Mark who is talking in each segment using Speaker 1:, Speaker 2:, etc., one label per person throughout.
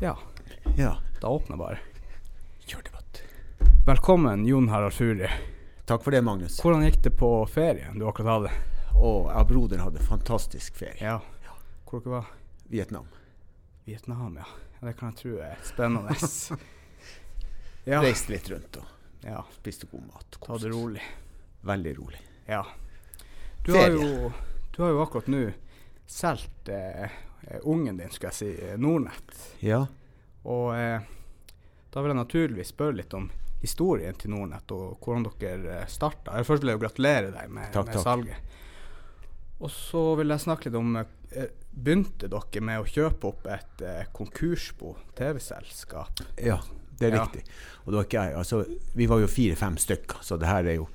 Speaker 1: Ja,
Speaker 2: Ja.
Speaker 1: da åpner jeg bare.
Speaker 2: Kjør debatt.
Speaker 1: Velkommen, Jon Harald Furi.
Speaker 2: Takk for det, Magnus.
Speaker 1: Hvordan gikk det på ferien du akkurat hadde?
Speaker 2: Og jeg og broderen hadde fantastisk ferie.
Speaker 1: Ja. Hvor dere var?
Speaker 2: Vietnam.
Speaker 1: Vietnam, ja. Ja, Det kan jeg tro er spennende. Ja.
Speaker 2: Reiste litt rundt og
Speaker 1: ja.
Speaker 2: spiste god mat.
Speaker 1: Ta det
Speaker 2: Kost.
Speaker 1: rolig.
Speaker 2: Veldig rolig.
Speaker 1: Ja. Du har
Speaker 2: Ferie.
Speaker 1: jo, du har jo akkurat nå solgt eh, eh, ungen din, skal jeg si, eh, Nordnett.
Speaker 2: Ja.
Speaker 1: Og eh, da vil jeg naturligvis spørre litt om historien til Nordnett og hvordan dere starta. Først vil jeg jo gratulere deg med,
Speaker 2: Takk,
Speaker 1: med
Speaker 2: takk.
Speaker 1: salget. Og så vil jeg snakke litt om eh, Begynte dere med å kjøpe opp et eh, konkursbo TV-selskap?
Speaker 2: Ja, det er
Speaker 1: Ja.
Speaker 2: riktig. Og det var ikke jeg. Altså, vi var jo fire-fem stykker, så det her er jo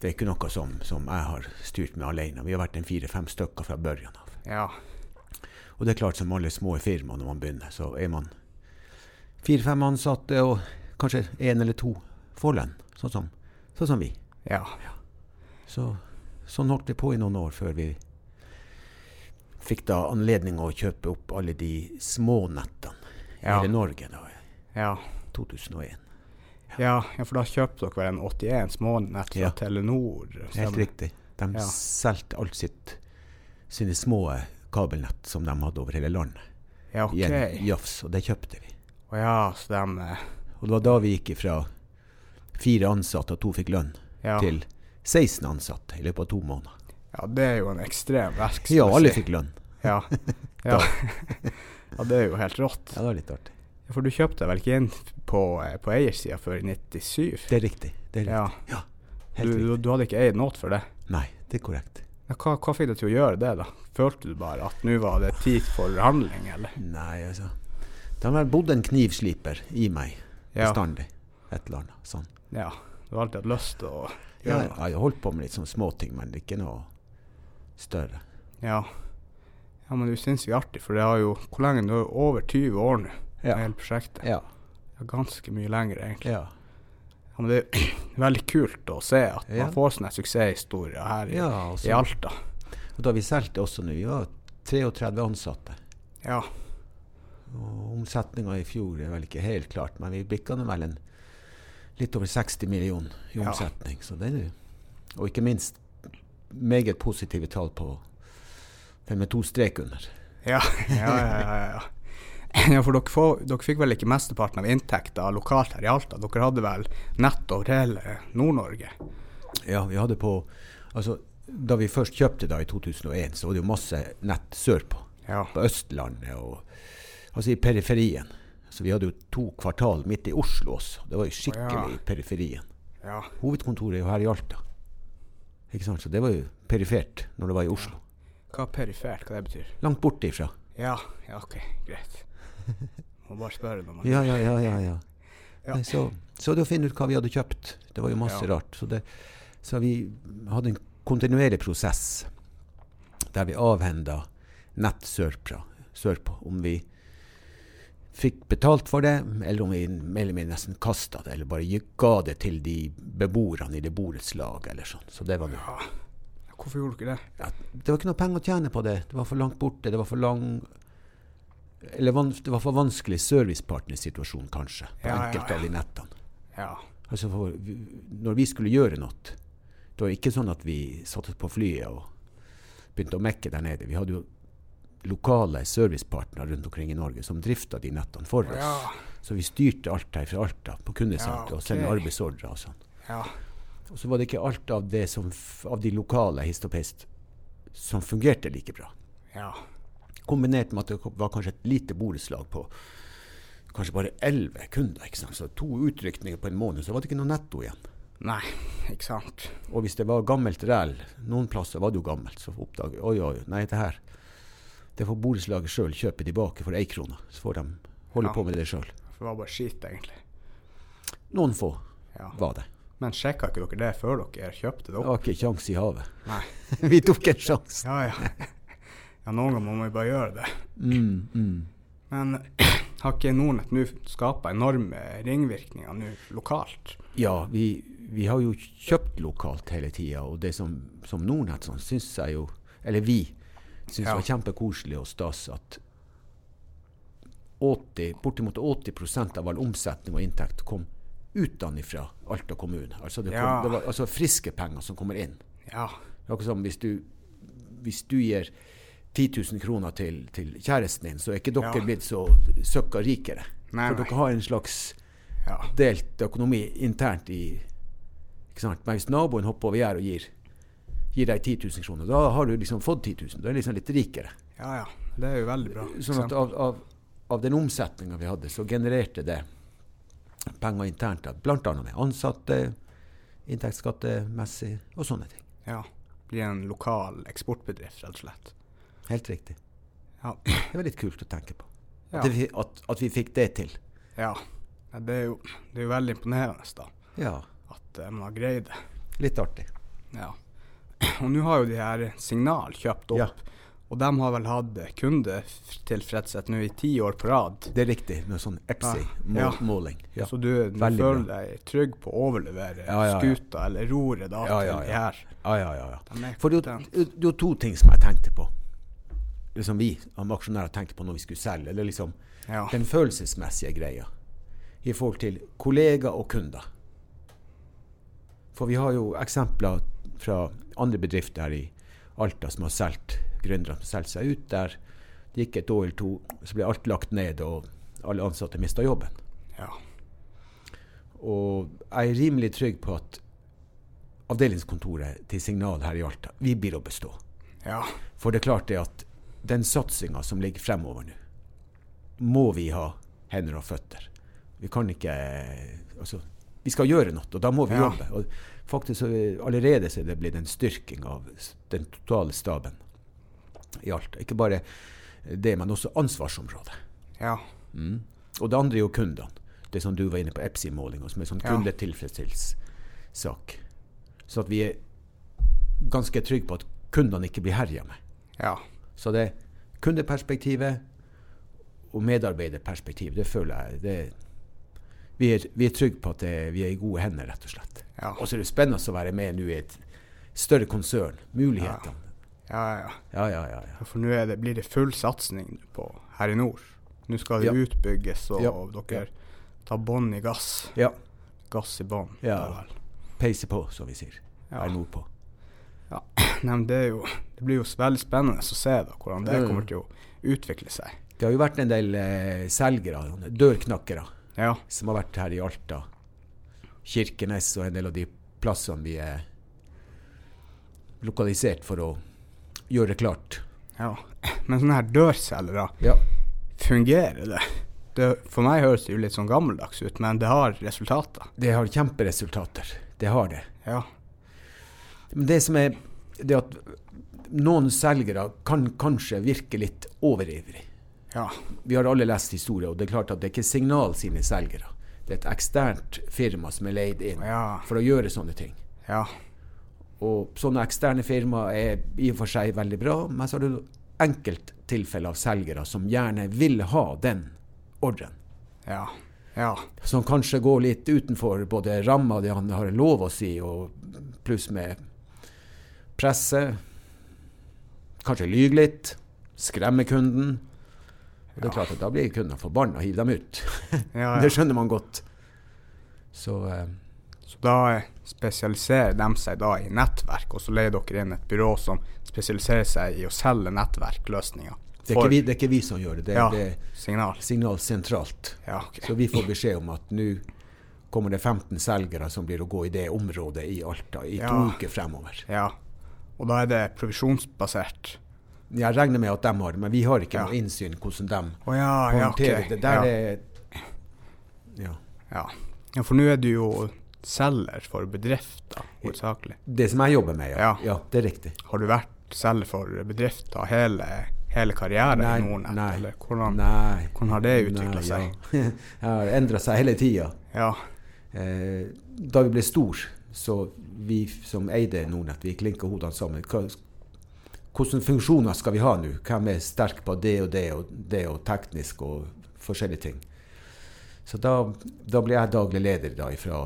Speaker 2: det er ikke noe som, som jeg har styrt med alene. Vi har vært en fire-fem stykker fra børjan av.
Speaker 1: Ja.
Speaker 2: Og det er klart, som alle små firma når man begynner, så er man fire-fem ansatte og kanskje én eller to får lønn, sånn som, sånn som vi.
Speaker 1: ja.
Speaker 2: Så sånn holdt vi på i noen år før vi fikk da anledning å kjøpe opp alle de små nettene i
Speaker 1: Ja.
Speaker 2: hele Norge da, i
Speaker 1: Ja.
Speaker 2: 2001.
Speaker 1: ja. ja for da kjøpte dere vel en 81 smånett fra
Speaker 2: Ja.
Speaker 1: Telenor?
Speaker 2: Helt
Speaker 1: stemmer?
Speaker 2: riktig. De
Speaker 1: Ja.
Speaker 2: solgte alt sitt sine små kabelnett som de hadde over hele landet,
Speaker 1: Ja,
Speaker 2: i en
Speaker 1: OK.
Speaker 2: jafs, og det kjøpte vi.
Speaker 1: Å ja, så de eh,
Speaker 2: Og det var da vi gikk fra fire ansatte og to fikk lønn,
Speaker 1: ja.
Speaker 2: til 16 ansatte i løpet av to måneder.
Speaker 1: ja, det er jo en ekstrem verkstad.
Speaker 2: Ja, alle fikk lønn.
Speaker 1: Ja. Ja. ja, det er jo helt rått.
Speaker 2: Ja, det var litt artig.
Speaker 1: For du kjøpte vel ikke inn på, eh, på eiersida før i 97?
Speaker 2: Det er riktig. Det er riktig.
Speaker 1: Ja.
Speaker 2: Ja,
Speaker 1: Du,
Speaker 2: helt
Speaker 1: du, du hadde ikke eid noe for det.
Speaker 2: Nei, det er korrekt.
Speaker 1: Men hva, hva fikk deg til å gjøre det, da? Følte du bare at nå var det tid for handling, eller?
Speaker 2: Nei, altså. Det har bodd en knivsliper i meg
Speaker 1: Ja.
Speaker 2: bestandig. Et eller annet sånn.
Speaker 1: ja. Du har alltid hatt lyst til å
Speaker 2: Ja,
Speaker 1: gjøre
Speaker 2: jeg
Speaker 1: noe?
Speaker 2: har holdt på med litt sånn småting, men ikke noe større.
Speaker 1: Ja. ja. Men det er jo sinnssykt artig, for det har jo Hvor lenge? Det er jo over 20 år nå, det hele prosjektet.
Speaker 2: Ja.
Speaker 1: Ja, ganske mye lenger, egentlig.
Speaker 2: Ja.
Speaker 1: Ja, men det er jo veldig kult å se at
Speaker 2: Ja.
Speaker 1: man får sånne suksesshistorier her i,
Speaker 2: og,
Speaker 1: i
Speaker 2: så,
Speaker 1: Alta.
Speaker 2: og da vi solgte også nå, vi var 33 ansatte.
Speaker 1: Ja.
Speaker 2: Og omsetninga i fjor er vel ikke helt klart, men vi bikka nå vel en litt over 60 millioner i
Speaker 1: Ja.
Speaker 2: omsetning. Så det er jo Og ikke minst meget positive tall på den med to strek under.
Speaker 1: Ja, ja, ja. ja, ja. Ja, for dere, får, dere fikk vel ikke mesteparten av inntekta lokalt her i Alta? Dere hadde vel nett over hele Nord-Norge?
Speaker 2: Ja, vi hadde på Altså, da vi først kjøpte da i 2001, så var det jo masse nett sørpå.
Speaker 1: Ja.
Speaker 2: På Østlandet og Altså i periferien. Så vi hadde jo to kvartal midt i Oslo også. Det var jo skikkelig
Speaker 1: Ja.
Speaker 2: periferien.
Speaker 1: ja.
Speaker 2: Hovedkontoret er jo her i Alta. Ikke sant? Så det var jo perifert når det var i Oslo.
Speaker 1: Hva er perifert, hva det betyr?
Speaker 2: Langt borte ifra.
Speaker 1: Ja, ja, OK, greit. Må bare spørre når man
Speaker 2: Ja, ja, ja, ja. ja.
Speaker 1: Ja.
Speaker 2: Nei, så, så det å finne ut hva vi hadde kjøpt. Det var jo masse
Speaker 1: Ja.
Speaker 2: rart. Så, det, så vi hadde en kontinuerlig prosess der vi avhenda nett sørpå, sørpå. Om vi fikk betalt for det, eller om vi mer eller mindre nesten kasta det, eller bare gi- ga det til de beboerne i det borettslaget eller sånn. Så det var jo
Speaker 1: ja. Hvorfor gjorde dere det?
Speaker 2: ja, Det var ikke noe penger å tjene på det. Det var for langt borte. Det var for lang Eller van, det var for vanskelig servicepartnersituasjon, kanskje,
Speaker 1: Ja,
Speaker 2: på
Speaker 1: ja,
Speaker 2: enkelte av de nettene.
Speaker 1: Ja.
Speaker 2: Altså for, vi- når vi skulle gjøre noe, det var ikke sånn at vi satte oss på flyet og begynte å mekke der nede. Vi hadde jo lokale servicepartnere rundt omkring i Norge som drifta de nettene for oss.
Speaker 1: Ja.
Speaker 2: Så vi styrte alt her fra Alta på kundesenteret
Speaker 1: Ja,
Speaker 2: og sendte
Speaker 1: ok.
Speaker 2: arbeidsordrer og sånn.
Speaker 1: ja.
Speaker 2: Og så var det ikke alt av, det som, f- av de lokale hist og pest som fungerte like bra.
Speaker 1: ja.
Speaker 2: Kombinert med at det var kanskje et lite borettslag på kanskje bare elleve kunder. Ikke sant? Så to utrykninger på en måned, så var det ikke noe netto igjen.
Speaker 1: Nei, ikke sant.
Speaker 2: Og hvis det var gammelt ræl, noen plasser var det jo gammelt, så oppdager vi oi, oi, nei, det her Det får borettslaget sjøl kjøpe tilbake for ei krone. Så får de holde
Speaker 1: Ja.
Speaker 2: på med det sjøl.
Speaker 1: For det var bare skit, egentlig.
Speaker 2: Noen få
Speaker 1: Ja.
Speaker 2: var det.
Speaker 1: Men sjekka ikke dere det før dere kjøpte det
Speaker 2: Det
Speaker 1: opp?
Speaker 2: var ikke kjangs i havet.
Speaker 1: Nei.
Speaker 2: vi tok en sjanse.
Speaker 1: Ja, ja. Ja, noen ganger må man jo bare gjøre det.
Speaker 2: Mm, mm.
Speaker 1: Men har ikke Nordnett nå skapa enorme ringvirkninger nå lokalt?
Speaker 2: Ja, vi, vi har jo kjøpt lokalt hele tida, og det som, som Nordnett sånn, syns jeg jo Eller vi syns
Speaker 1: Ja.
Speaker 2: det var kjempekoselig og stas at 80, bortimot 80 av all omsetning og inntekt kom utenfra Alta kommune. Altså, det kom,
Speaker 1: Ja.
Speaker 2: det var, altså friske penger som kommer inn.
Speaker 1: Ja.
Speaker 2: Det er akkurat som hvis du, hvis du gir 10 000 kroner til, til kjæresten din, så er ikke dere
Speaker 1: Ja.
Speaker 2: blitt så søkka rikere.
Speaker 1: Nei,
Speaker 2: For
Speaker 1: nei.
Speaker 2: dere har en slags
Speaker 1: ja.
Speaker 2: delt økonomi internt i ikke sant? Men hvis naboen hopper over gjerdet og gir, gir deg 10 000 kroner, da har du liksom fått 10 000. Da er du liksom litt rikere.
Speaker 1: Ja ja. Det er jo veldig bra.
Speaker 2: Sånn at av, av, av den omsetninga vi hadde, så genererte det penger internt. Bl.a. med ansatte, inntektsskattemessig og sånne ting.
Speaker 1: Ja. Bli en lokal eksportbedrift, rett og slett.
Speaker 2: Helt riktig.
Speaker 1: Ja.
Speaker 2: Det var litt kult å tenke på.
Speaker 1: Ja.
Speaker 2: At, vi, at, at vi fikk det til.
Speaker 1: ja. Nei, Det, er jo, det er jo veldig imponerende da,
Speaker 2: Ja.
Speaker 1: at eh, man har greid det.
Speaker 2: Litt artig.
Speaker 1: Ja. Og nå har jo de her Signal kjøpt opp,
Speaker 2: Ja.
Speaker 1: og de har vel hatt kundetilfredshet nå i ti år på rad.
Speaker 2: Det er riktig. Med sånn
Speaker 1: Ja.
Speaker 2: EPSI-måling. Ja.
Speaker 1: Så du, du
Speaker 2: Veldig
Speaker 1: føler deg trygg på å overlevere
Speaker 2: Ja, ja, ja.
Speaker 1: skuta eller roret da,
Speaker 2: Ja, ja,
Speaker 1: til de her.
Speaker 2: Ja, ja, ja,
Speaker 1: De
Speaker 2: ja.
Speaker 1: er
Speaker 2: For det er
Speaker 1: kompetent.
Speaker 2: jo- det er jo to ting som jeg tenkte på. Eller som vi som aksjonærer tenkte på når vi skulle selge. Eller liksom
Speaker 1: Ja.
Speaker 2: den følelsesmessige greia i forhold til kollegaer og kunder. For vi har jo eksempler fra andre bedrifter her i Alta som har solgt gründere som har solgt seg ut der. Det gikk et år eller to, så ble alt lagt ned, og alle ansatte mista jobben.
Speaker 1: ja.
Speaker 2: Og jeg er rimelig trygg på at avdelingskontoret til Signal her i Alta, vi blir å bestå.
Speaker 1: Ja.
Speaker 2: For det er klart det at den satsinga som ligger fremover nå, må vi ha hender og føtter. Vi kan ikke Altså, vi skal gjøre noe, og da må vi
Speaker 1: Ja.
Speaker 2: jobbe. Og faktisk så er- allerede så er det blitt en styrking av s- den totale staben i Alta. Ikke bare det, men også ansvarsområdet.
Speaker 1: Ja.
Speaker 2: Mm. Og det andre er jo kundene. Det som du var inne på, EPSI-målinga, som er sånn
Speaker 1: Ja.
Speaker 2: kundetilfredsstillelsessak. Så at vi er ganske trygge på at kundene ikke blir herja med.
Speaker 1: Ja.
Speaker 2: Så det kundeperspektivet og medarbeiderperspektivet, det føler jeg det, vi, er, vi er trygge på at det, vi er i gode hender, rett og slett.
Speaker 1: Ja.
Speaker 2: Og så er det spennende å være med nå i et større konsern. Mulighetene.
Speaker 1: Ja, ja.
Speaker 2: Ja, ja, ja. ja.
Speaker 1: For nå er det, blir det full satsing på her i nord. Nå skal det
Speaker 2: Ja.
Speaker 1: utbygges, og
Speaker 2: Ja.
Speaker 1: dere tar bånn i gass.
Speaker 2: ja.
Speaker 1: Gass i bånn.
Speaker 2: Ja.
Speaker 1: da vel.
Speaker 2: Peise på, som vi sier.
Speaker 1: Ja.
Speaker 2: Her nordpå.
Speaker 1: Ja. Nei, men det, er jo, det blir jo veldig spennende å se da, hvordan det
Speaker 2: Mm.
Speaker 1: kommer til å utvikle seg.
Speaker 2: Det har jo vært en del eh, selgere, sånne dørknakkere,
Speaker 1: Ja.
Speaker 2: som har vært her i Alta, Kirkenes og en del av de plassene vi er lokalisert for å gjøre klart.
Speaker 1: ja. Men sånne her dørselgere,
Speaker 2: Ja.
Speaker 1: fungerer det? det? For meg høres det jo litt sånn gammeldags ut, men det har resultater.
Speaker 2: Det har kjemperesultater. Det har det.
Speaker 1: Ja.
Speaker 2: Men det som er det at noen selgere kan kanskje virke litt overivrig.
Speaker 1: Ja.
Speaker 2: Vi har alle lest historier, og det er klart at det er ikke Signal sine selgere. Det er et eksternt firma som er leid inn
Speaker 1: Ja.
Speaker 2: for å gjøre sånne ting.
Speaker 1: Ja.
Speaker 2: Og sånne eksterne firmaer er i og for seg veldig bra, men så har du enkelttilfeller av selgere som gjerne vil ha den ordren.
Speaker 1: Ja. Ja.
Speaker 2: Som kanskje går litt utenfor både ramma det han har lov å si, og pluss med presse. Kanskje lyge litt. Skremme kunden. Og det er klart at Da blir kundene forbanna og hiver dem ut.
Speaker 1: ja, ja.
Speaker 2: Det skjønner man godt. Så eh,
Speaker 1: Så da eh, spesialiserer de seg da i nettverk, og så leier dere inn et byrå som spesialiserer seg i å selge nettverkløsninger.
Speaker 2: det, er ikke vi, det er ikke vi som gjør det. Det,
Speaker 1: ja,
Speaker 2: det er
Speaker 1: signal.
Speaker 2: Signal sentralt.
Speaker 1: Ja, ok.
Speaker 2: Så vi får beskjed om at nå kommer det 15 selgere som blir å gå i det området i Alta i to
Speaker 1: Ja.
Speaker 2: uker fremover.
Speaker 1: Ja. Og da er det provisjonsbasert.
Speaker 2: Jeg regner med at de har det, men vi har ikke
Speaker 1: Ja.
Speaker 2: noe innsyn hvordan de
Speaker 1: Å ja, ja, ok.
Speaker 2: håndterer det. Der
Speaker 1: ja,
Speaker 2: er ja.
Speaker 1: ja. ja, for nå er du jo selger for bedrifter, hovedsakelig.
Speaker 2: Det som jeg jobber med, ja.
Speaker 1: Ja.
Speaker 2: ja det er riktig.
Speaker 1: Har du vært selger for bedrifter hele, hele karrieren
Speaker 2: Nei,
Speaker 1: i Nordnett,
Speaker 2: nei.
Speaker 1: eller hvordan,
Speaker 2: Nei.
Speaker 1: hvordan har det utvikla
Speaker 2: Nei,
Speaker 1: seg?
Speaker 2: Ja. Jeg har endra seg hele tida.
Speaker 1: Ja.
Speaker 2: Eh, da vi ble stor, så vi f- som eide Nordnett, vi klinka hodene sammen. Hva, hvordan funksjoner skal vi ha nå? Hvem er sterk på det og det og det og teknisk og forskjellige ting? Så da, da ble jeg daglig leder da fra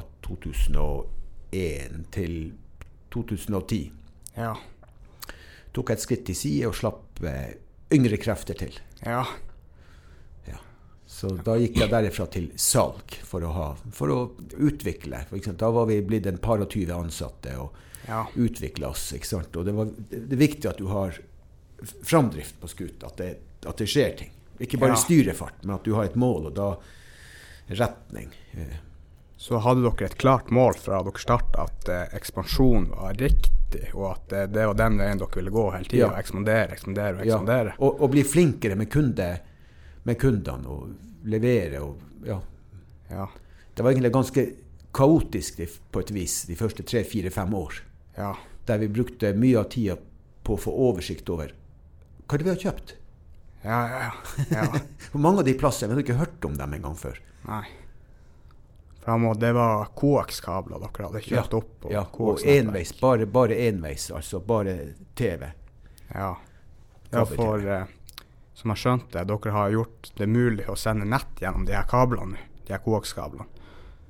Speaker 2: 2001 til 2010.
Speaker 1: Ja.
Speaker 2: Tok et skritt til side og slapp eh, yngre krefter til.
Speaker 1: ja.
Speaker 2: Så da gikk jeg derifra til salg for å, ha, for å utvikle. For ikke sant? Da var vi blitt en par og tyve ansatte og
Speaker 1: Ja.
Speaker 2: utvikla oss. Ikke sant? Og det, var, det er viktig at du har framdrift på skuta, at, det- at det skjer ting. Ikke bare
Speaker 1: Ja.
Speaker 2: styrefart, men at du har et mål, og da retning. Eh,
Speaker 1: Så hadde dere et klart mål fra dere starta at eh, ekspansjon var riktig, og at eh, det var den veien dere ville gå hele tida.
Speaker 2: Ja.
Speaker 1: Ekspandere, ekspandere og
Speaker 2: Ja,
Speaker 1: ekspandere.
Speaker 2: og, og bli flinkere med, kunde, med kundene og levere og ja,
Speaker 1: Ja.
Speaker 2: Det var egentlig ganske kaotisk de- på et vis de første tre-fire-fem år.
Speaker 1: ja.
Speaker 2: Der vi brukte mye av tida på å få oversikt over hva er det vi har kjøpt.
Speaker 1: Ja, ja, ja. ja.
Speaker 2: For mange av de plassene vi hadde ikke hørt om dem engang før.
Speaker 1: Nei. For han må, det var koakskabler dere hadde kjøpt opp.
Speaker 2: ja, og
Speaker 1: koaksnettverk.
Speaker 2: enveis. Bare, bare enveis, altså. Bare TV.
Speaker 1: Ja. ja, for eh, som jeg skjønte, dere har gjort det mulig å sende nett gjennom de her kablene. nå, De her koakskablene.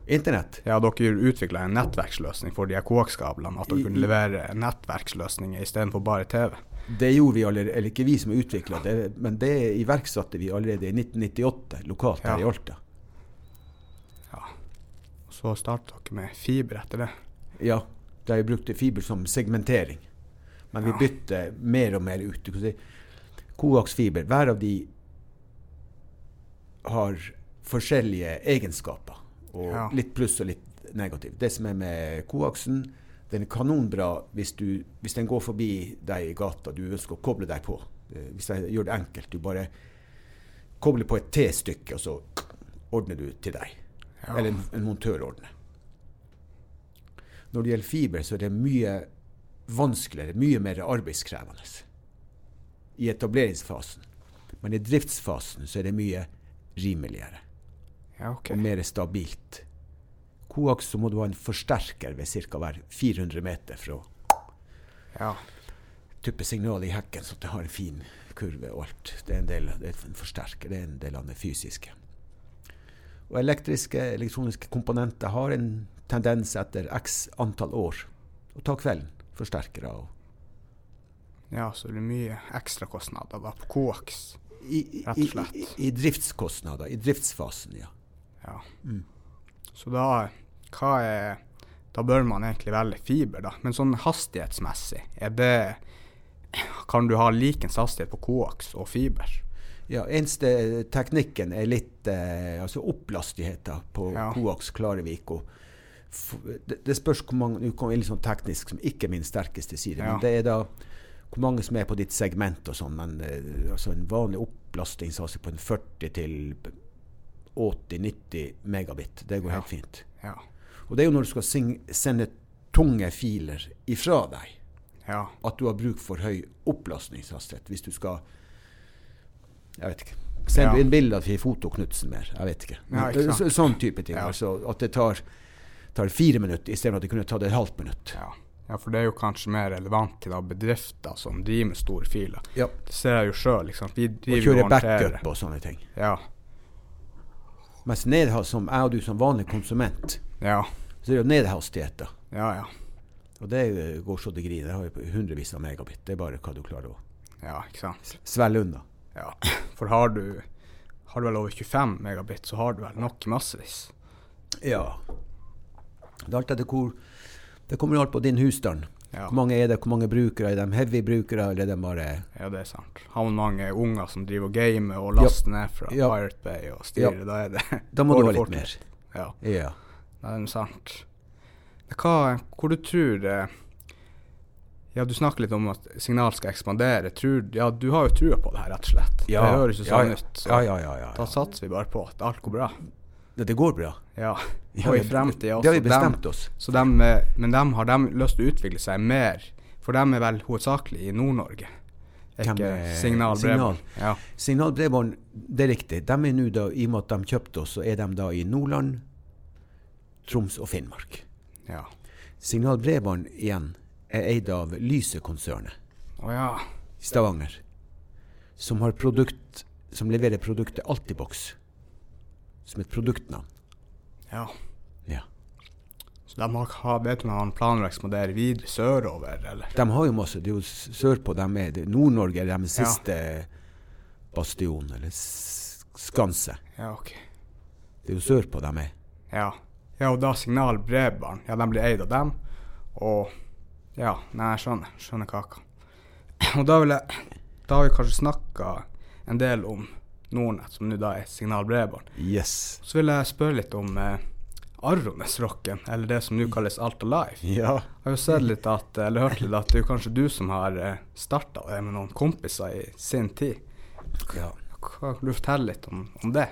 Speaker 2: Internett.
Speaker 1: Ja, dere utvikla en nettverksløsning for de her koakskablene. At
Speaker 2: I-
Speaker 1: dere
Speaker 2: i-
Speaker 1: kunne levere nettverksløsninger istedenfor bare TV.
Speaker 2: Det gjorde vi allerede, eller ikke vi som utvikla det, men det iverksatte vi allerede i 1998 lokalt her
Speaker 1: Ja.
Speaker 2: i Alta.
Speaker 1: Ja. Og så starta dere med fiber etter det.
Speaker 2: Ja, der vi brukte fiber som segmentering. Men vi
Speaker 1: Ja.
Speaker 2: bytter mer og mer ut. Du kan si Koaksfiber, hver av de har forskjellige egenskaper. Og
Speaker 1: Ja.
Speaker 2: litt pluss og litt negativt. Det som er med koaksen, den er kanonbra hvis, du, hvis den går forbi deg i gata du ønsker å koble deg på. Eh, Hvis jeg gjør det enkelt. Du bare kobler på et T-stykke, og så ordner du til deg.
Speaker 1: Ja.
Speaker 2: Eller en, en montør ordner. Når det gjelder fiber, så er det mye vanskeligere, mye mer arbeidskrevende i etableringsfasen. Men i driftsfasen så er det mye rimeligere
Speaker 1: Ja, ok.
Speaker 2: og mer stabilt. Koaks så må du ha en forsterker ved ca. hver 400 meter for å
Speaker 1: Ja.
Speaker 2: tuppe signalet i hekken, så det har en fin kurve og alt. Det er en del det er en forsterker, det er en del av det fysiske. Og elektriske, elektroniske komponenter har en tendens etter x antall år å ta kvelden. Forsterkere og
Speaker 1: ja, så det blir mye ekstrakostnader da på koaks.
Speaker 2: i, i,
Speaker 1: Rett og
Speaker 2: i,
Speaker 1: slett.
Speaker 2: i, I driftskostnader, i driftsfasen, ja.
Speaker 1: Ja.
Speaker 2: Mm.
Speaker 1: Så da, hva er, da bør man egentlig velge fiber, da. Men sånn hastighetsmessig, er det Kan du ha likens hastighet på koaks og fiber?
Speaker 2: Ja, Eneste eh, teknikken er litt eh, altså opplastigheten på
Speaker 1: Ja.
Speaker 2: koaks Klarevik. Og f det, det spørs hvor mange Nå kommer jeg litt sånn teknisk, som ikke er min sterkeste side.
Speaker 1: Ja.
Speaker 2: Men det er da hvor mange som er på ditt segment og sånn. Men eh, altså en vanlig opplastningshastighet på en 40 til 80-90 megabit, det går
Speaker 1: Ja.
Speaker 2: helt fint.
Speaker 1: Ja.
Speaker 2: Og det er jo når du skal sing sende tunge filer ifra deg
Speaker 1: ja.
Speaker 2: at du har bruk for høy opplastningshastighet hvis du skal Jeg vet ikke. Send
Speaker 1: Ja.
Speaker 2: inn bilder til Fotoknutsen mer. Jeg vet ikke.
Speaker 1: Ja, ikke sant.
Speaker 2: Så- Sånn type ting.
Speaker 1: Ja.
Speaker 2: Altså, at det tar, tar fire minutter istedenfor at det kunne tatt et halvt minutt.
Speaker 1: ja. Ja, for det er jo kanskje mer relevant til da bedrifter som driver med store filer.
Speaker 2: Ja.
Speaker 1: Det ser jeg jo sjøl, liksom. Vi
Speaker 2: Og
Speaker 1: driver
Speaker 2: kjøre
Speaker 1: og håndterer.
Speaker 2: backup og sånne ting.
Speaker 1: Ja.
Speaker 2: Mens nedhast, som jeg og du som vanlig konsument,
Speaker 1: Ja.
Speaker 2: så er det jo nedhastigheter.
Speaker 1: Ja, ja.
Speaker 2: Og det eh, går så det griner. Det har jo på hundrevis av megabit. Det er bare hva du klarer å
Speaker 1: Ja, ikke sant.
Speaker 2: svelge unna.
Speaker 1: Ja. For har du har du vel over 25 megabit, så har du vel nok massevis.
Speaker 2: Ja. Det er alt etter hvor Det kommer jo alt på din husstand.
Speaker 1: Ja.
Speaker 2: Hvor mange er det, hvor mange brukere er de heavy brukere, eller er de bare
Speaker 1: Ja, det er sant. Har man mange unger som driver og gamer og laster ned fra
Speaker 2: Ja.
Speaker 1: Pirate Bay og styrer, da er det
Speaker 2: Da må
Speaker 1: går
Speaker 2: du ha
Speaker 1: det
Speaker 2: litt
Speaker 1: fort.
Speaker 2: mer.
Speaker 1: Ja,
Speaker 2: Ja.
Speaker 1: det er sant. Men Hva, hvor du tror eh, Ja, du snakker litt om at signal skal ekspandere. Tror, ja, du har jo trua på det her, rett og slett. Det høres jo
Speaker 2: ja,
Speaker 1: sånn
Speaker 2: ja.
Speaker 1: ut. Så
Speaker 2: Ja, ja, ja. ja,
Speaker 1: Da
Speaker 2: ja.
Speaker 1: satser vi bare på at alt går bra.
Speaker 2: Det, det går bra.
Speaker 1: Ja.
Speaker 2: Ja,
Speaker 1: og i
Speaker 2: det-
Speaker 1: fremtida
Speaker 2: Det har
Speaker 1: også.
Speaker 2: vi
Speaker 1: dem-
Speaker 2: bestemt oss.
Speaker 1: så dem, eh, men dem har de lyst til å utvikle seg mer, for dem er vel hovedsakelig i Nord-Norge. Er
Speaker 2: Hvem
Speaker 1: Ikke
Speaker 2: er-
Speaker 1: signal,
Speaker 2: Signal.
Speaker 1: Ja.
Speaker 2: Signalbredbånd, det er riktig. De er nå da, I og med at de kjøpte oss, så er de da i Nordland, Troms og Finnmark.
Speaker 1: ja.
Speaker 2: Signalbredbånd igjen er eid av Lyse-konsernet.
Speaker 1: Å ja.
Speaker 2: i Stavanger, som har produkt som leverer produktet Altibox som et produktnavn.
Speaker 1: ja.
Speaker 2: Ja.
Speaker 1: Så de har, har- vet du om de har planer å ekspandere videre sørover, eller?
Speaker 2: De har jo masse. Det er jo s- sørpå de er. Det- Nord-Norge er deres siste bastion, eh, eller s- skanse.
Speaker 1: Ja, ok.
Speaker 2: Det er jo sørpå de er.
Speaker 1: Ja. ja, og da Signal Bredbånd, ja, de blir eid av dem. Og ja, nei, jeg skjønner. Skjønner kaka. Og da vil jeg Da har vi kanskje snakka en del om Nordnett, som nå da er Signal Bredbånd.
Speaker 2: Yes.
Speaker 1: Så vil jeg spørre litt om eh, Arronesrocken, eller det som nå kalles Alta Life.
Speaker 2: Ja.
Speaker 1: Jeg har jo sett litt at, eller hørt litt at det er jo kanskje du som har starta det med noen kompiser i sin tid.
Speaker 2: ja.
Speaker 1: Hva kan du fortelle litt om, om det?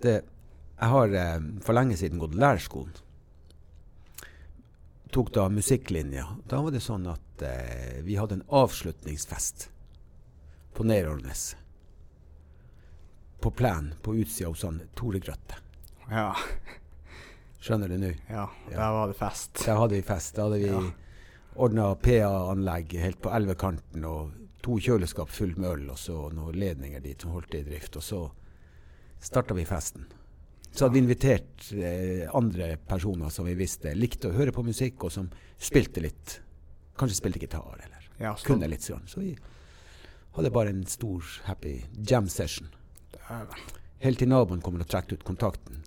Speaker 2: Det, jeg har eh, for lenge siden gått lærerskolen. Tok da musikklinja. Da var det sånn at eh, vi hadde en avslutningsfest på Nerolnes. På plenen på utsida hos han Tore Grøtte.
Speaker 1: Ja,
Speaker 2: Skjønner du nå?
Speaker 1: ja, der var det fest.
Speaker 2: Der hadde vi fest. Da hadde vi
Speaker 1: Ja.
Speaker 2: ordna PA-anlegg helt på elvekanten og to kjøleskap fullt med øl og så noen ledninger dit som holdt i drift. Og så starta vi festen. Så hadde vi invitert eh, andre personer som vi visste likte å høre på musikk, og som spilte litt. Kanskje spilte gitar, eller
Speaker 1: Ja, så-
Speaker 2: kunne litt. Sånn. Så vi hadde bare en stor happy jam session.
Speaker 1: Dæven.
Speaker 2: Helt til naboen kommer og trekker ut kontakten.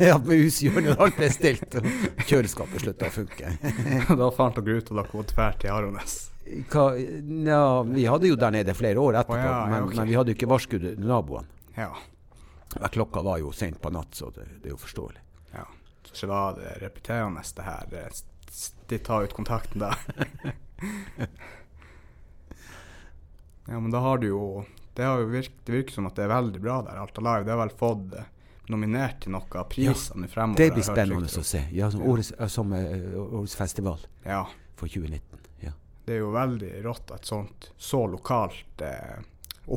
Speaker 2: ja, med hushjørnet og alt ble stilt, og kjøleskapet slutta å funke.
Speaker 1: da fant dere ut og dere måtte dra til Arones.
Speaker 2: Hva, ja, vi hadde jo der nede flere år
Speaker 1: Å
Speaker 2: etterpå,
Speaker 1: ja, ja,
Speaker 2: men,
Speaker 1: ok.
Speaker 2: men vi hadde jo ikke varskudd naboene.
Speaker 1: Ja.
Speaker 2: Men Klokka var jo sent på natt, så det, det er jo forståelig.
Speaker 1: ja. Så ikke var det repeterende, det her. eh, s- s- De tar ut kontakten der. ja, men da har du jo Det, har jo virk, det virker som at det er veldig bra der. Alta Live det har vel fått eh, nominert til noe av prisene fremover.
Speaker 2: Det
Speaker 1: har
Speaker 2: blir
Speaker 1: jeg hørt
Speaker 2: spennende
Speaker 1: rykter
Speaker 2: å se. Ja, som årets, ja, som, eh, årets festival
Speaker 1: om. Ja.
Speaker 2: for 2019. Ja.
Speaker 1: Det er jo veldig rått at sånt så lokalt eh,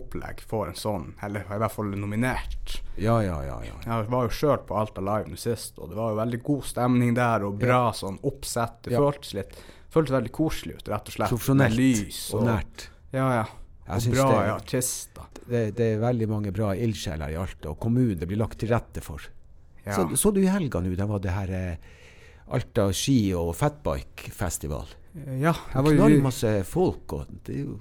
Speaker 1: opplegg får en sånn, eller i hvert fall nominert.
Speaker 2: Ja, ja, ja, ja.
Speaker 1: Jeg var jo sjøl på Alta Live nå sist, og det var jo veldig god stemning der, og bra sånn oppsett. Det
Speaker 2: Ja.
Speaker 1: føltes litt føltes veldig koselig ut, rett og slett.
Speaker 2: Profesjonelt
Speaker 1: Med lys
Speaker 2: og nært.
Speaker 1: Ja, ja.
Speaker 2: Jeg
Speaker 1: Og
Speaker 2: syns
Speaker 1: bra
Speaker 2: det-
Speaker 1: ja, artister.
Speaker 2: Det, det er veldig mange bra ildsjeler i Alta, og kommunen det blir lagt til rette for.
Speaker 1: Ja.
Speaker 2: Så, så du i helga nå, det var det her eh, Alta ski- og fatbike-festival.
Speaker 1: Eh, ja, jeg var
Speaker 2: Knall
Speaker 1: jo
Speaker 2: masse folk, og det er jo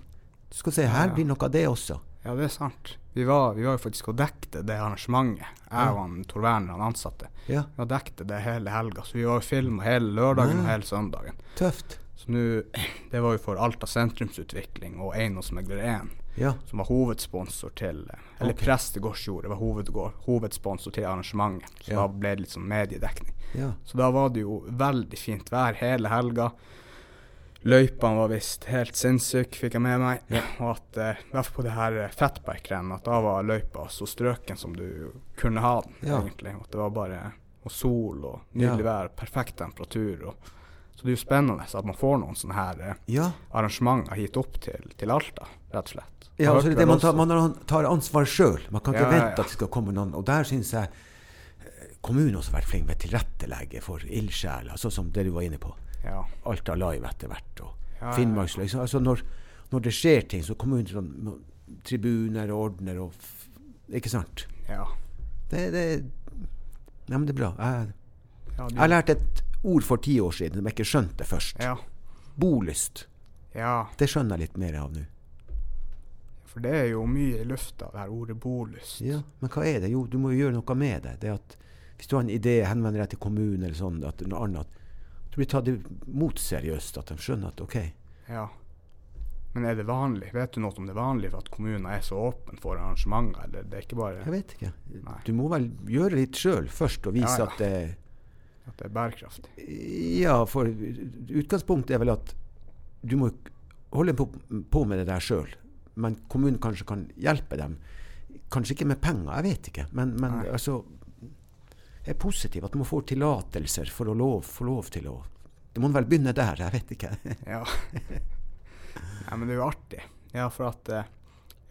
Speaker 2: Du skal se, her
Speaker 1: Ja.
Speaker 2: blir noe av det også.
Speaker 1: Ja, det er sant. Vi var, vi var jo faktisk og dekte det arrangementet, jeg og han Tor Werner, han ansatte.
Speaker 2: Ja,
Speaker 1: Vi var dekte det hele helga, så vi var og filma hele lørdagen og hele søndagen.
Speaker 2: tøft.
Speaker 1: Så nå Det var jo for Alta sentrumsutvikling og Eiendomsmegler 1.
Speaker 2: Ja.
Speaker 1: som var hovedsponsor til Eller
Speaker 2: Ok.
Speaker 1: Prestegårdsjordet var hovedgård, hovedsponsor til arrangementet. Så
Speaker 2: Ja.
Speaker 1: da ble det litt sånn mediedekning.
Speaker 2: ja.
Speaker 1: Så da var det jo veldig fint vær hele helga. Løypene var visst helt sinnssyke, fikk jeg med meg. Og at eh, i hvert fall på det her eh, fatbike-rennet, at da var løypa så strøken som du kunne ha den,
Speaker 2: Ja.
Speaker 1: egentlig. Og at det var bare og sol og nydelig
Speaker 2: Ja.
Speaker 1: vær, perfekt temperatur. Og, så det er jo spennende at man får noen sånne her eh,
Speaker 2: Ja,
Speaker 1: arrangementer hit opp til, til Alta, rett og slett.
Speaker 2: ja
Speaker 1: Jeg hørte
Speaker 2: altså det, er det
Speaker 1: vel
Speaker 2: man, tar,
Speaker 1: også-
Speaker 2: man har- tar ansvar sjøl. Man kan ikke
Speaker 1: Ja, ja,
Speaker 2: vente
Speaker 1: ja.
Speaker 2: at det skal komme noen. Og der syns jeg eh, kommunen også har vært flink med å tilrettelegge for ildsjeler, sånn som det du var inne på.
Speaker 1: Ja,
Speaker 2: Alta Live etter hvert, og
Speaker 1: Ja, ja.
Speaker 2: Finnmarksløy. Så, altså når, når det skjer ting, så kommer hun til sånn no- tribuner og ordner og f Ikke sant?
Speaker 1: ja.
Speaker 2: Det, det, ja, men det er bra. Jeg,
Speaker 1: Ja, du-
Speaker 2: jeg lærte et ord for ti år siden som jeg ikke skjønte først.
Speaker 1: ja,
Speaker 2: Bolyst.
Speaker 1: ja,
Speaker 2: Det skjønner jeg litt mer av nå.
Speaker 1: for det er jo mye i lufta, det her ordet bolyst.
Speaker 2: Ja, Men hva er det? Jo, du må jo gjøre noe med det. det at hvis du har en idé, henvender deg til kommunen eller sånn, at noe annet, at du blir tatt imot seriøst. At de skjønner at OK.
Speaker 1: Ja. Men er det vanlig? Vet du noe om det er vanlig for at kommunen er så åpen for arrangementer, eller det er ikke bare
Speaker 2: Jeg vet ikke.
Speaker 1: Nei.
Speaker 2: Du må vel gjøre litt sjøl først og vise
Speaker 1: Ja, ja.
Speaker 2: at det
Speaker 1: at det er bærekraftig?
Speaker 2: Ja, for utgangspunktet er vel at du må holde på, på med det der sjøl. Men kommunen kanskje kan hjelpe dem. Kanskje ikke med penger, jeg vet ikke. Men, men
Speaker 1: Nei.
Speaker 2: altså er positiv at man får tillatelser for å lov, få lov til å Det må vel begynne der, jeg vet ikke.
Speaker 1: Ja. Nei, men det er jo artig. Ja, for at eh,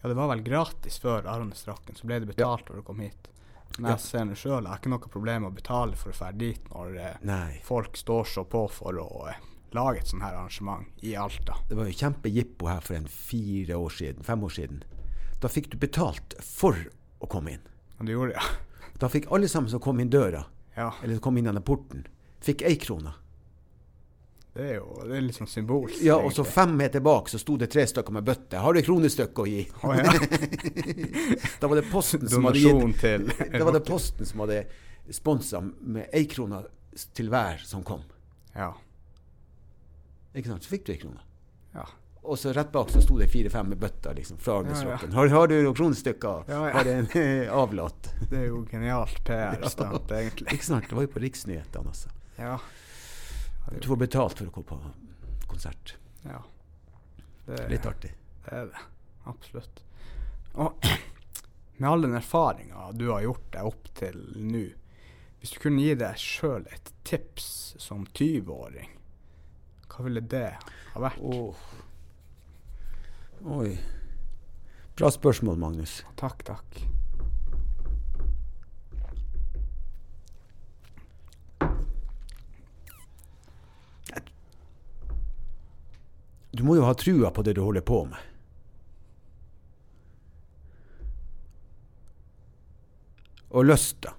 Speaker 1: Ja, det var vel gratis før Arnestrakken, så ble det betalt når du kom hit. Men
Speaker 2: Ja.
Speaker 1: jeg ser nå sjøl, jeg har ikke noe problem med å betale for å dra dit når eh,
Speaker 2: Nei.
Speaker 1: folk står så på for å eh, lage et sånt her arrangement i Alta.
Speaker 2: Det var jo kjempejippo her for en fire år siden, fem år siden. Da fikk du betalt for å komme inn.
Speaker 1: Ja, det gjorde jeg.
Speaker 2: Da fikk alle sammen som kom inn døra,
Speaker 1: Ja,
Speaker 2: eller som kom inn gjennom porten, fikk ei krone.
Speaker 1: det Det er jo det er litt sånn symbolsk.
Speaker 2: Ja, og så
Speaker 1: egentlig.
Speaker 2: fem meter bak så sto det tre stykker med bøtte. Har du et kronestykke å gi?
Speaker 1: Å, ja.
Speaker 2: Da var det Posten som hadde gitt
Speaker 1: Donasjon til
Speaker 2: Da var det Posten som hadde sponsa med ei krone til hver som kom.
Speaker 1: Ja.
Speaker 2: Ikke sant? Så fikk du ei krone.
Speaker 1: ja.
Speaker 2: Og så rett bak så sto det fire-fem med bøtter liksom, fra arbeidsrocken. Har, har du noen kronestykker?
Speaker 1: Ja, ja.
Speaker 2: Har du en eh, avlatt?
Speaker 1: Det er jo genialt PR-stunt, egentlig.
Speaker 2: Ikke sant? Det var jo på riksnyhetene, altså.
Speaker 1: Ja.
Speaker 2: Du får betalt for å gå på konsert.
Speaker 1: ja. Det,
Speaker 2: Litt artig.
Speaker 1: Det er det. Absolutt. Og med all den erfaringa du har gjort deg opp til nå, hvis du kunne gi deg sjøl et tips som 20-åring, hva ville det ha vært?
Speaker 2: Åh. Oi. Bra spørsmål, Magnus.
Speaker 1: Takk, takk.
Speaker 2: Du må jo ha trua på det du holder på med. Og lysta.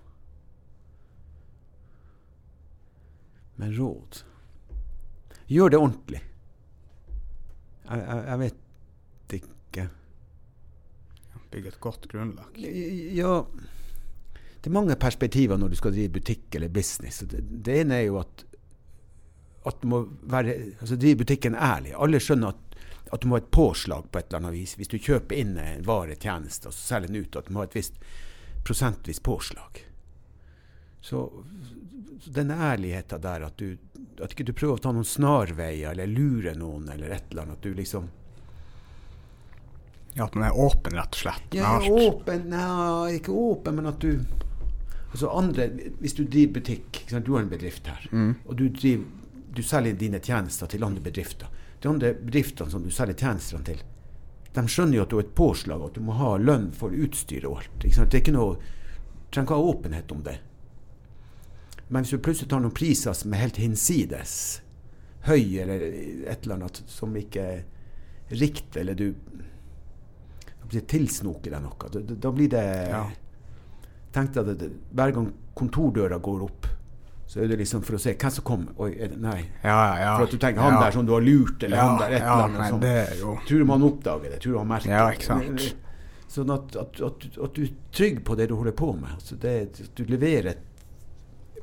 Speaker 2: Men råd Gjør det ordentlig. Jeg, jeg, jeg vet ikke
Speaker 1: Bygge et godt grunnlag.
Speaker 2: Ja Det er mange perspektiver når du skal drive butikk eller business. Og Det, det ene er jo at, at du må være, altså drive butikken ærlig. Alle skjønner at, at du må ha et påslag på et eller annet vis. Hvis du kjøper inn en vare, tjeneste og så selger den ut, at du må ha et visst prosentvis påslag. Så, så den ærligheten der, at du at ikke du prøver å ta noen snarveier eller lure noen eller et eller annet. At du liksom
Speaker 1: Ja, at man er åpen, rett og slett.
Speaker 2: Ja, åpen Nei, ikke åpen, men at du Altså andre, Hvis du driver butikk ikke sant? Du har en bedrift her.
Speaker 1: Mm.
Speaker 2: Og du, driver, du selger dine tjenester til andre bedrifter. De andre bedriftene som du selger tjenestene til, de skjønner jo at du har et påslag, og at du må ha lønn for utstyr og alt. Ikke sant? Det er ikke noe, Du trenger ikke ha åpenhet om det. Men hvis du plutselig tar noen priser som er helt hinsides, høy eller et eller annet som ikke er riktig, eller du det tilsnoker deg noe, da, da- da blir det
Speaker 1: Ja.
Speaker 2: Tenk deg at det- hver gang kontordøra går opp, så er det liksom for å se hvem som kommer. Oi, er det, nei.
Speaker 1: Ja, ja, ja.
Speaker 2: For at du tenker han
Speaker 1: ja.
Speaker 2: der som du har lurt, eller
Speaker 1: Ja,
Speaker 2: han der
Speaker 1: ja,
Speaker 2: et eller annet.
Speaker 1: nei,
Speaker 2: sånt.
Speaker 1: det er jo-
Speaker 2: Tror du man oppdager det? Tror du han merker
Speaker 1: Ja,
Speaker 2: det?
Speaker 1: ikke sant.
Speaker 2: Sånn at, at, at, at du er trygg på det du holder på med. Altså det, at du leverer et,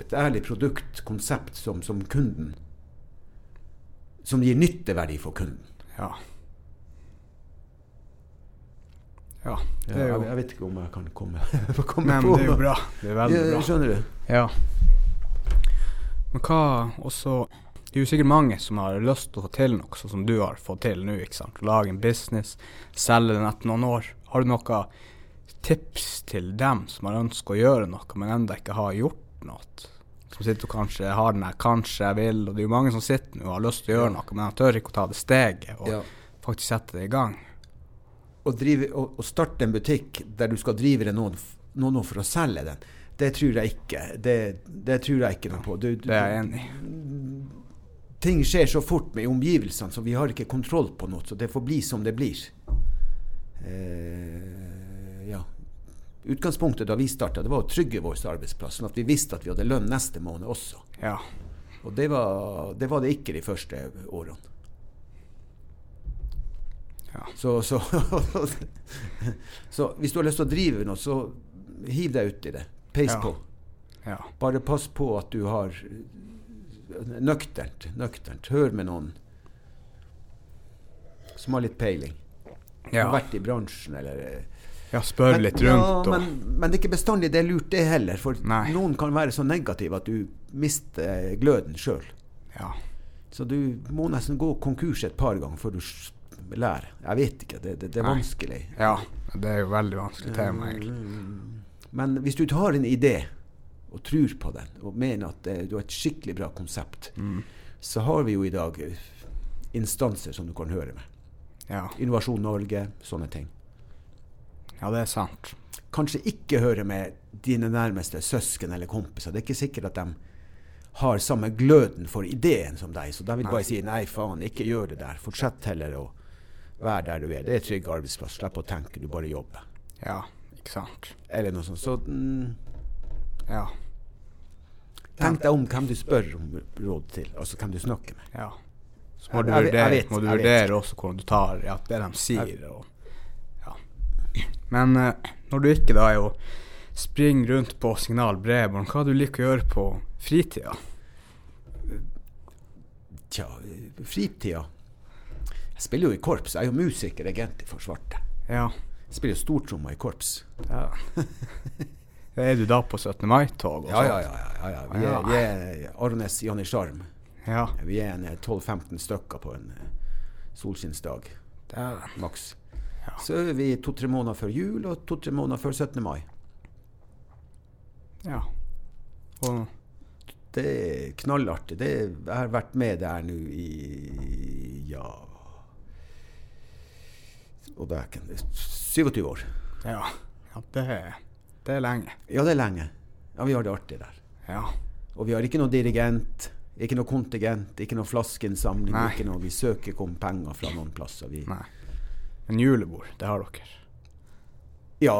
Speaker 2: et ærlig produkt, konsept, som, som kunden Som gir nytteverdi for kunden.
Speaker 1: Ja. Ja, det er
Speaker 2: jeg,
Speaker 1: jo
Speaker 2: jeg vet ikke om jeg kan komme, få komme
Speaker 1: Nei,
Speaker 2: på
Speaker 1: men det er jo
Speaker 2: noe.
Speaker 1: bra. Det er veldig
Speaker 2: Ja,
Speaker 1: bra.
Speaker 2: Skjønner du?
Speaker 1: Ja. Men hva også Det er jo sikkert mange som har lyst til å få til noe sånn som du har fått til nå. ikke sant? Lage en business, selge den etter noen år. Har du noen tips til dem som har ønsket å gjøre noe, men ennå ikke har gjort noe? Som sitter og kanskje har den der 'kanskje jeg vil', og det er jo mange som sitter nå og har lyst til å gjøre noe, men de tør ikke å ta det steget og
Speaker 2: Ja.
Speaker 1: faktisk sette det i gang.
Speaker 2: Å, drive, å, å starte en butikk der du skal drive det noen, f- noen år for å selge den, det tror jeg ikke. Det, det tror jeg ikke noe på. Du, du,
Speaker 1: Det er jeg enig i.
Speaker 2: ting skjer så fort med omgivelsene, så vi har ikke kontroll på noe. Så det får bli som det blir. Eh, ja. Utgangspunktet da vi starta, var å trygge vår arbeidsplass, sånn at vi visste at vi hadde lønn neste måned også.
Speaker 1: Ja.
Speaker 2: Og det var det, var det ikke de første årene.
Speaker 1: Ja.
Speaker 2: Så, så, så hvis du har lyst til å drive noe, så hiv deg uti det. Peis
Speaker 1: Ja.
Speaker 2: på.
Speaker 1: ja.
Speaker 2: Bare pass på at du har eh, Nøkternt. Nøkternt. Hør med noen som har litt peiling. Har
Speaker 1: ja.
Speaker 2: vært i bransjen, eller eh,
Speaker 1: ja Spør litt rundt
Speaker 2: ja,
Speaker 1: og
Speaker 2: men, men det er ikke bestandig det er lurt, det heller. For
Speaker 1: Nei.
Speaker 2: noen kan være så negative at du mister eh, gløden sjøl.
Speaker 1: Ja.
Speaker 2: Så du må nesten gå konkurs et par ganger før du s- lærer. Jeg vet ikke, det, det, det er
Speaker 1: Nei.
Speaker 2: vanskelig.
Speaker 1: Ja, det er jo veldig vanskelig
Speaker 2: Mm.
Speaker 1: tema, egentlig.
Speaker 2: Eh, Men hvis du har en idé og tror på den, og mener at eh, du har et skikkelig bra konsept,
Speaker 1: Mm.
Speaker 2: så har vi jo i dag eh, instanser som du kan høre med.
Speaker 1: Ja.
Speaker 2: Innovasjon Norge, sånne ting.
Speaker 1: ja, det er sant.
Speaker 2: Kanskje ikke høre med dine nærmeste søsken eller kompiser. Det er ikke sikkert at de har samme gløden for ideen som deg. Så da vil jeg bare si nei, faen, ikke gjør det der. Fortsett heller å være der du er. Det er trygg arbeidsplass. Slipp å tenke, du bare jobber.
Speaker 1: Ja, ikke sant.
Speaker 2: Eller noe sånt. Så mm,
Speaker 1: Ja.
Speaker 2: Tenk deg om hvem du spør om råd til, altså hvem du snakker med.
Speaker 1: ja. Så må du
Speaker 2: Jeg- jeg- jeg
Speaker 1: vurdere,
Speaker 2: vet,
Speaker 1: må du
Speaker 2: jeg vet.
Speaker 1: vurdere også hvordan du tar ja, det de sier. Og, ja. Men eh, når du ikke da er å springe rundt på signal bredbånd, hva du liker å gjøre på fritida?
Speaker 2: Tja, fritida Jeg spiller jo i korps. Jeg er jo musiker, egentlig, for svarte.
Speaker 1: Ja,
Speaker 2: Jeg spiller jo stortromma i korps.
Speaker 1: ja. Er du da på 17. mai-tog? og
Speaker 2: Ja, ja,
Speaker 1: sånt?
Speaker 2: ja. ja, ja. Vi er, vi er Arnes Janitsjarm.
Speaker 1: ja.
Speaker 2: Vi er en eh, 12-15 stykker på en eh, solskinnsdag,
Speaker 1: Dæven.
Speaker 2: maks.
Speaker 1: Ja.
Speaker 2: Så øver vi to-tre måneder før jul og to-tre måneder før 17. mai.
Speaker 1: Ja. Og,
Speaker 2: Det er knallartig. Det, jeg har vært med der nå i ja Og det er ikke 27 år.
Speaker 1: ja. ja det, er, det er lenge.
Speaker 2: Ja, det er lenge. Ja, Vi har det artig der.
Speaker 1: Ja.
Speaker 2: Og vi har ikke noe dirigent, ikke noe kontingent, ikke noe flaskeinnsamling.
Speaker 1: Nei.
Speaker 2: Ikke noe, vi søker ikke om penger fra noen plasser. Vi,
Speaker 1: Nei. Men julebord, det har dere.
Speaker 2: ja,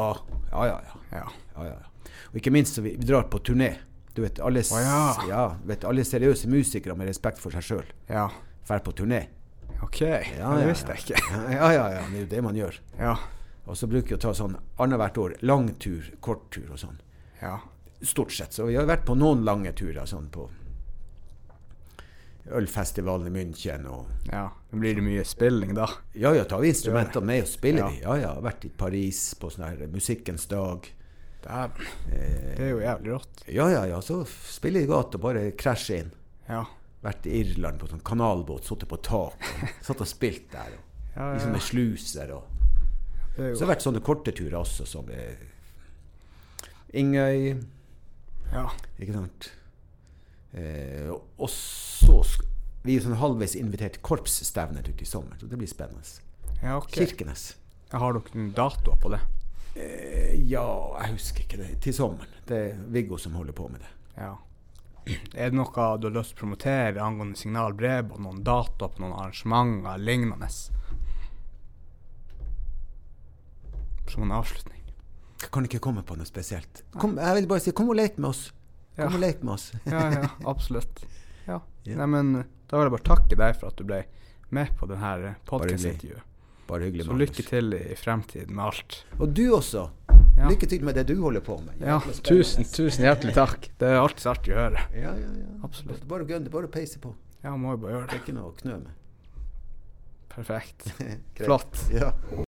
Speaker 2: ja, ja, ja.
Speaker 1: Ja.
Speaker 2: Ja, ja. ja. Og ikke minst så vi, vi drar på turné. Du vet, alle, s-
Speaker 1: Å, ja.
Speaker 2: du vet, alle seriøse musikere med respekt for seg sjøl
Speaker 1: ja.
Speaker 2: drar på turné.
Speaker 1: OK, det visste jeg ikke.
Speaker 2: Ja, ja, ja, ja. Det er jo det man gjør.
Speaker 1: Ja.
Speaker 2: Og så bruker vi å ta sånn annethvert år lang tur, kort tur og sånn.
Speaker 1: ja.
Speaker 2: Stort sett. Så vi har vært på noen lange turer sånn på ølfestivalen i München og
Speaker 1: ja. Men blir det mye spilling da?
Speaker 2: Ja ja, tar vi instrumentene med og spiller
Speaker 1: Ja.
Speaker 2: vi. Ja ja. Vært i Paris på sånn her Musikkens dag.
Speaker 1: Dæven.
Speaker 2: Eh,
Speaker 1: Det er jo jævlig rått.
Speaker 2: ja ja ja, så f- spiller i gata og bare krasjer inn.
Speaker 1: Ja.
Speaker 2: Vært i Irland på sånn kanalbåt, sittet på tak, og satt og spilt der. Og,
Speaker 1: Ja,
Speaker 2: I
Speaker 1: ja,
Speaker 2: sånne sluser og
Speaker 1: det er
Speaker 2: Liksom, Så det
Speaker 1: jo
Speaker 2: har vært sånne korte turer også, som eh, Ingøy
Speaker 1: Ja.
Speaker 2: Ikke sant? Eh, og så sk- Vi er sånn halvveis invitert til korpsstevner ute i sommer, så det blir spennende.
Speaker 1: ja OK.
Speaker 2: Kirkenes.
Speaker 1: Har dere noen datoer på det?
Speaker 2: Eh, ja, jeg husker ikke det. Til sommeren. Det er Viggo som holder på med det.
Speaker 1: Ja. Er det noe du har lyst til å promotere angående signal bredbånd, noen datoer på noen arrangementer lignende? Som en avslutning.
Speaker 2: Jeg kan ikke komme på noe spesielt. Kom, jeg vil bare si kom og lek med oss. Kom
Speaker 1: Ja.
Speaker 2: og lek med oss.
Speaker 1: Ja, ja, absolutt. Ja.
Speaker 2: Ja.
Speaker 1: Nei, men eh, da vil jeg bare takke deg for at du ble med på denne eh, podkastintervjuet.
Speaker 2: Bare hyggelig.
Speaker 1: Så
Speaker 2: Magnus.
Speaker 1: lykke til i fremtiden med alt.
Speaker 2: Og du også.
Speaker 1: Ja.
Speaker 2: Lykke til med det du holder på med.
Speaker 1: Ja,
Speaker 2: Jækla spennende.
Speaker 1: tusen, tusen hjertelig takk. Det er alltid så artig å høre.
Speaker 2: Ja, ja, ja.
Speaker 1: Absolutt.
Speaker 2: Bare gønn det. Bare peise på.
Speaker 1: Ja, må jo bare gjøre
Speaker 2: Det
Speaker 1: det.
Speaker 2: er ikke noe å knø med.
Speaker 1: Perfekt.
Speaker 2: Greit.
Speaker 1: Flott.
Speaker 2: Ja.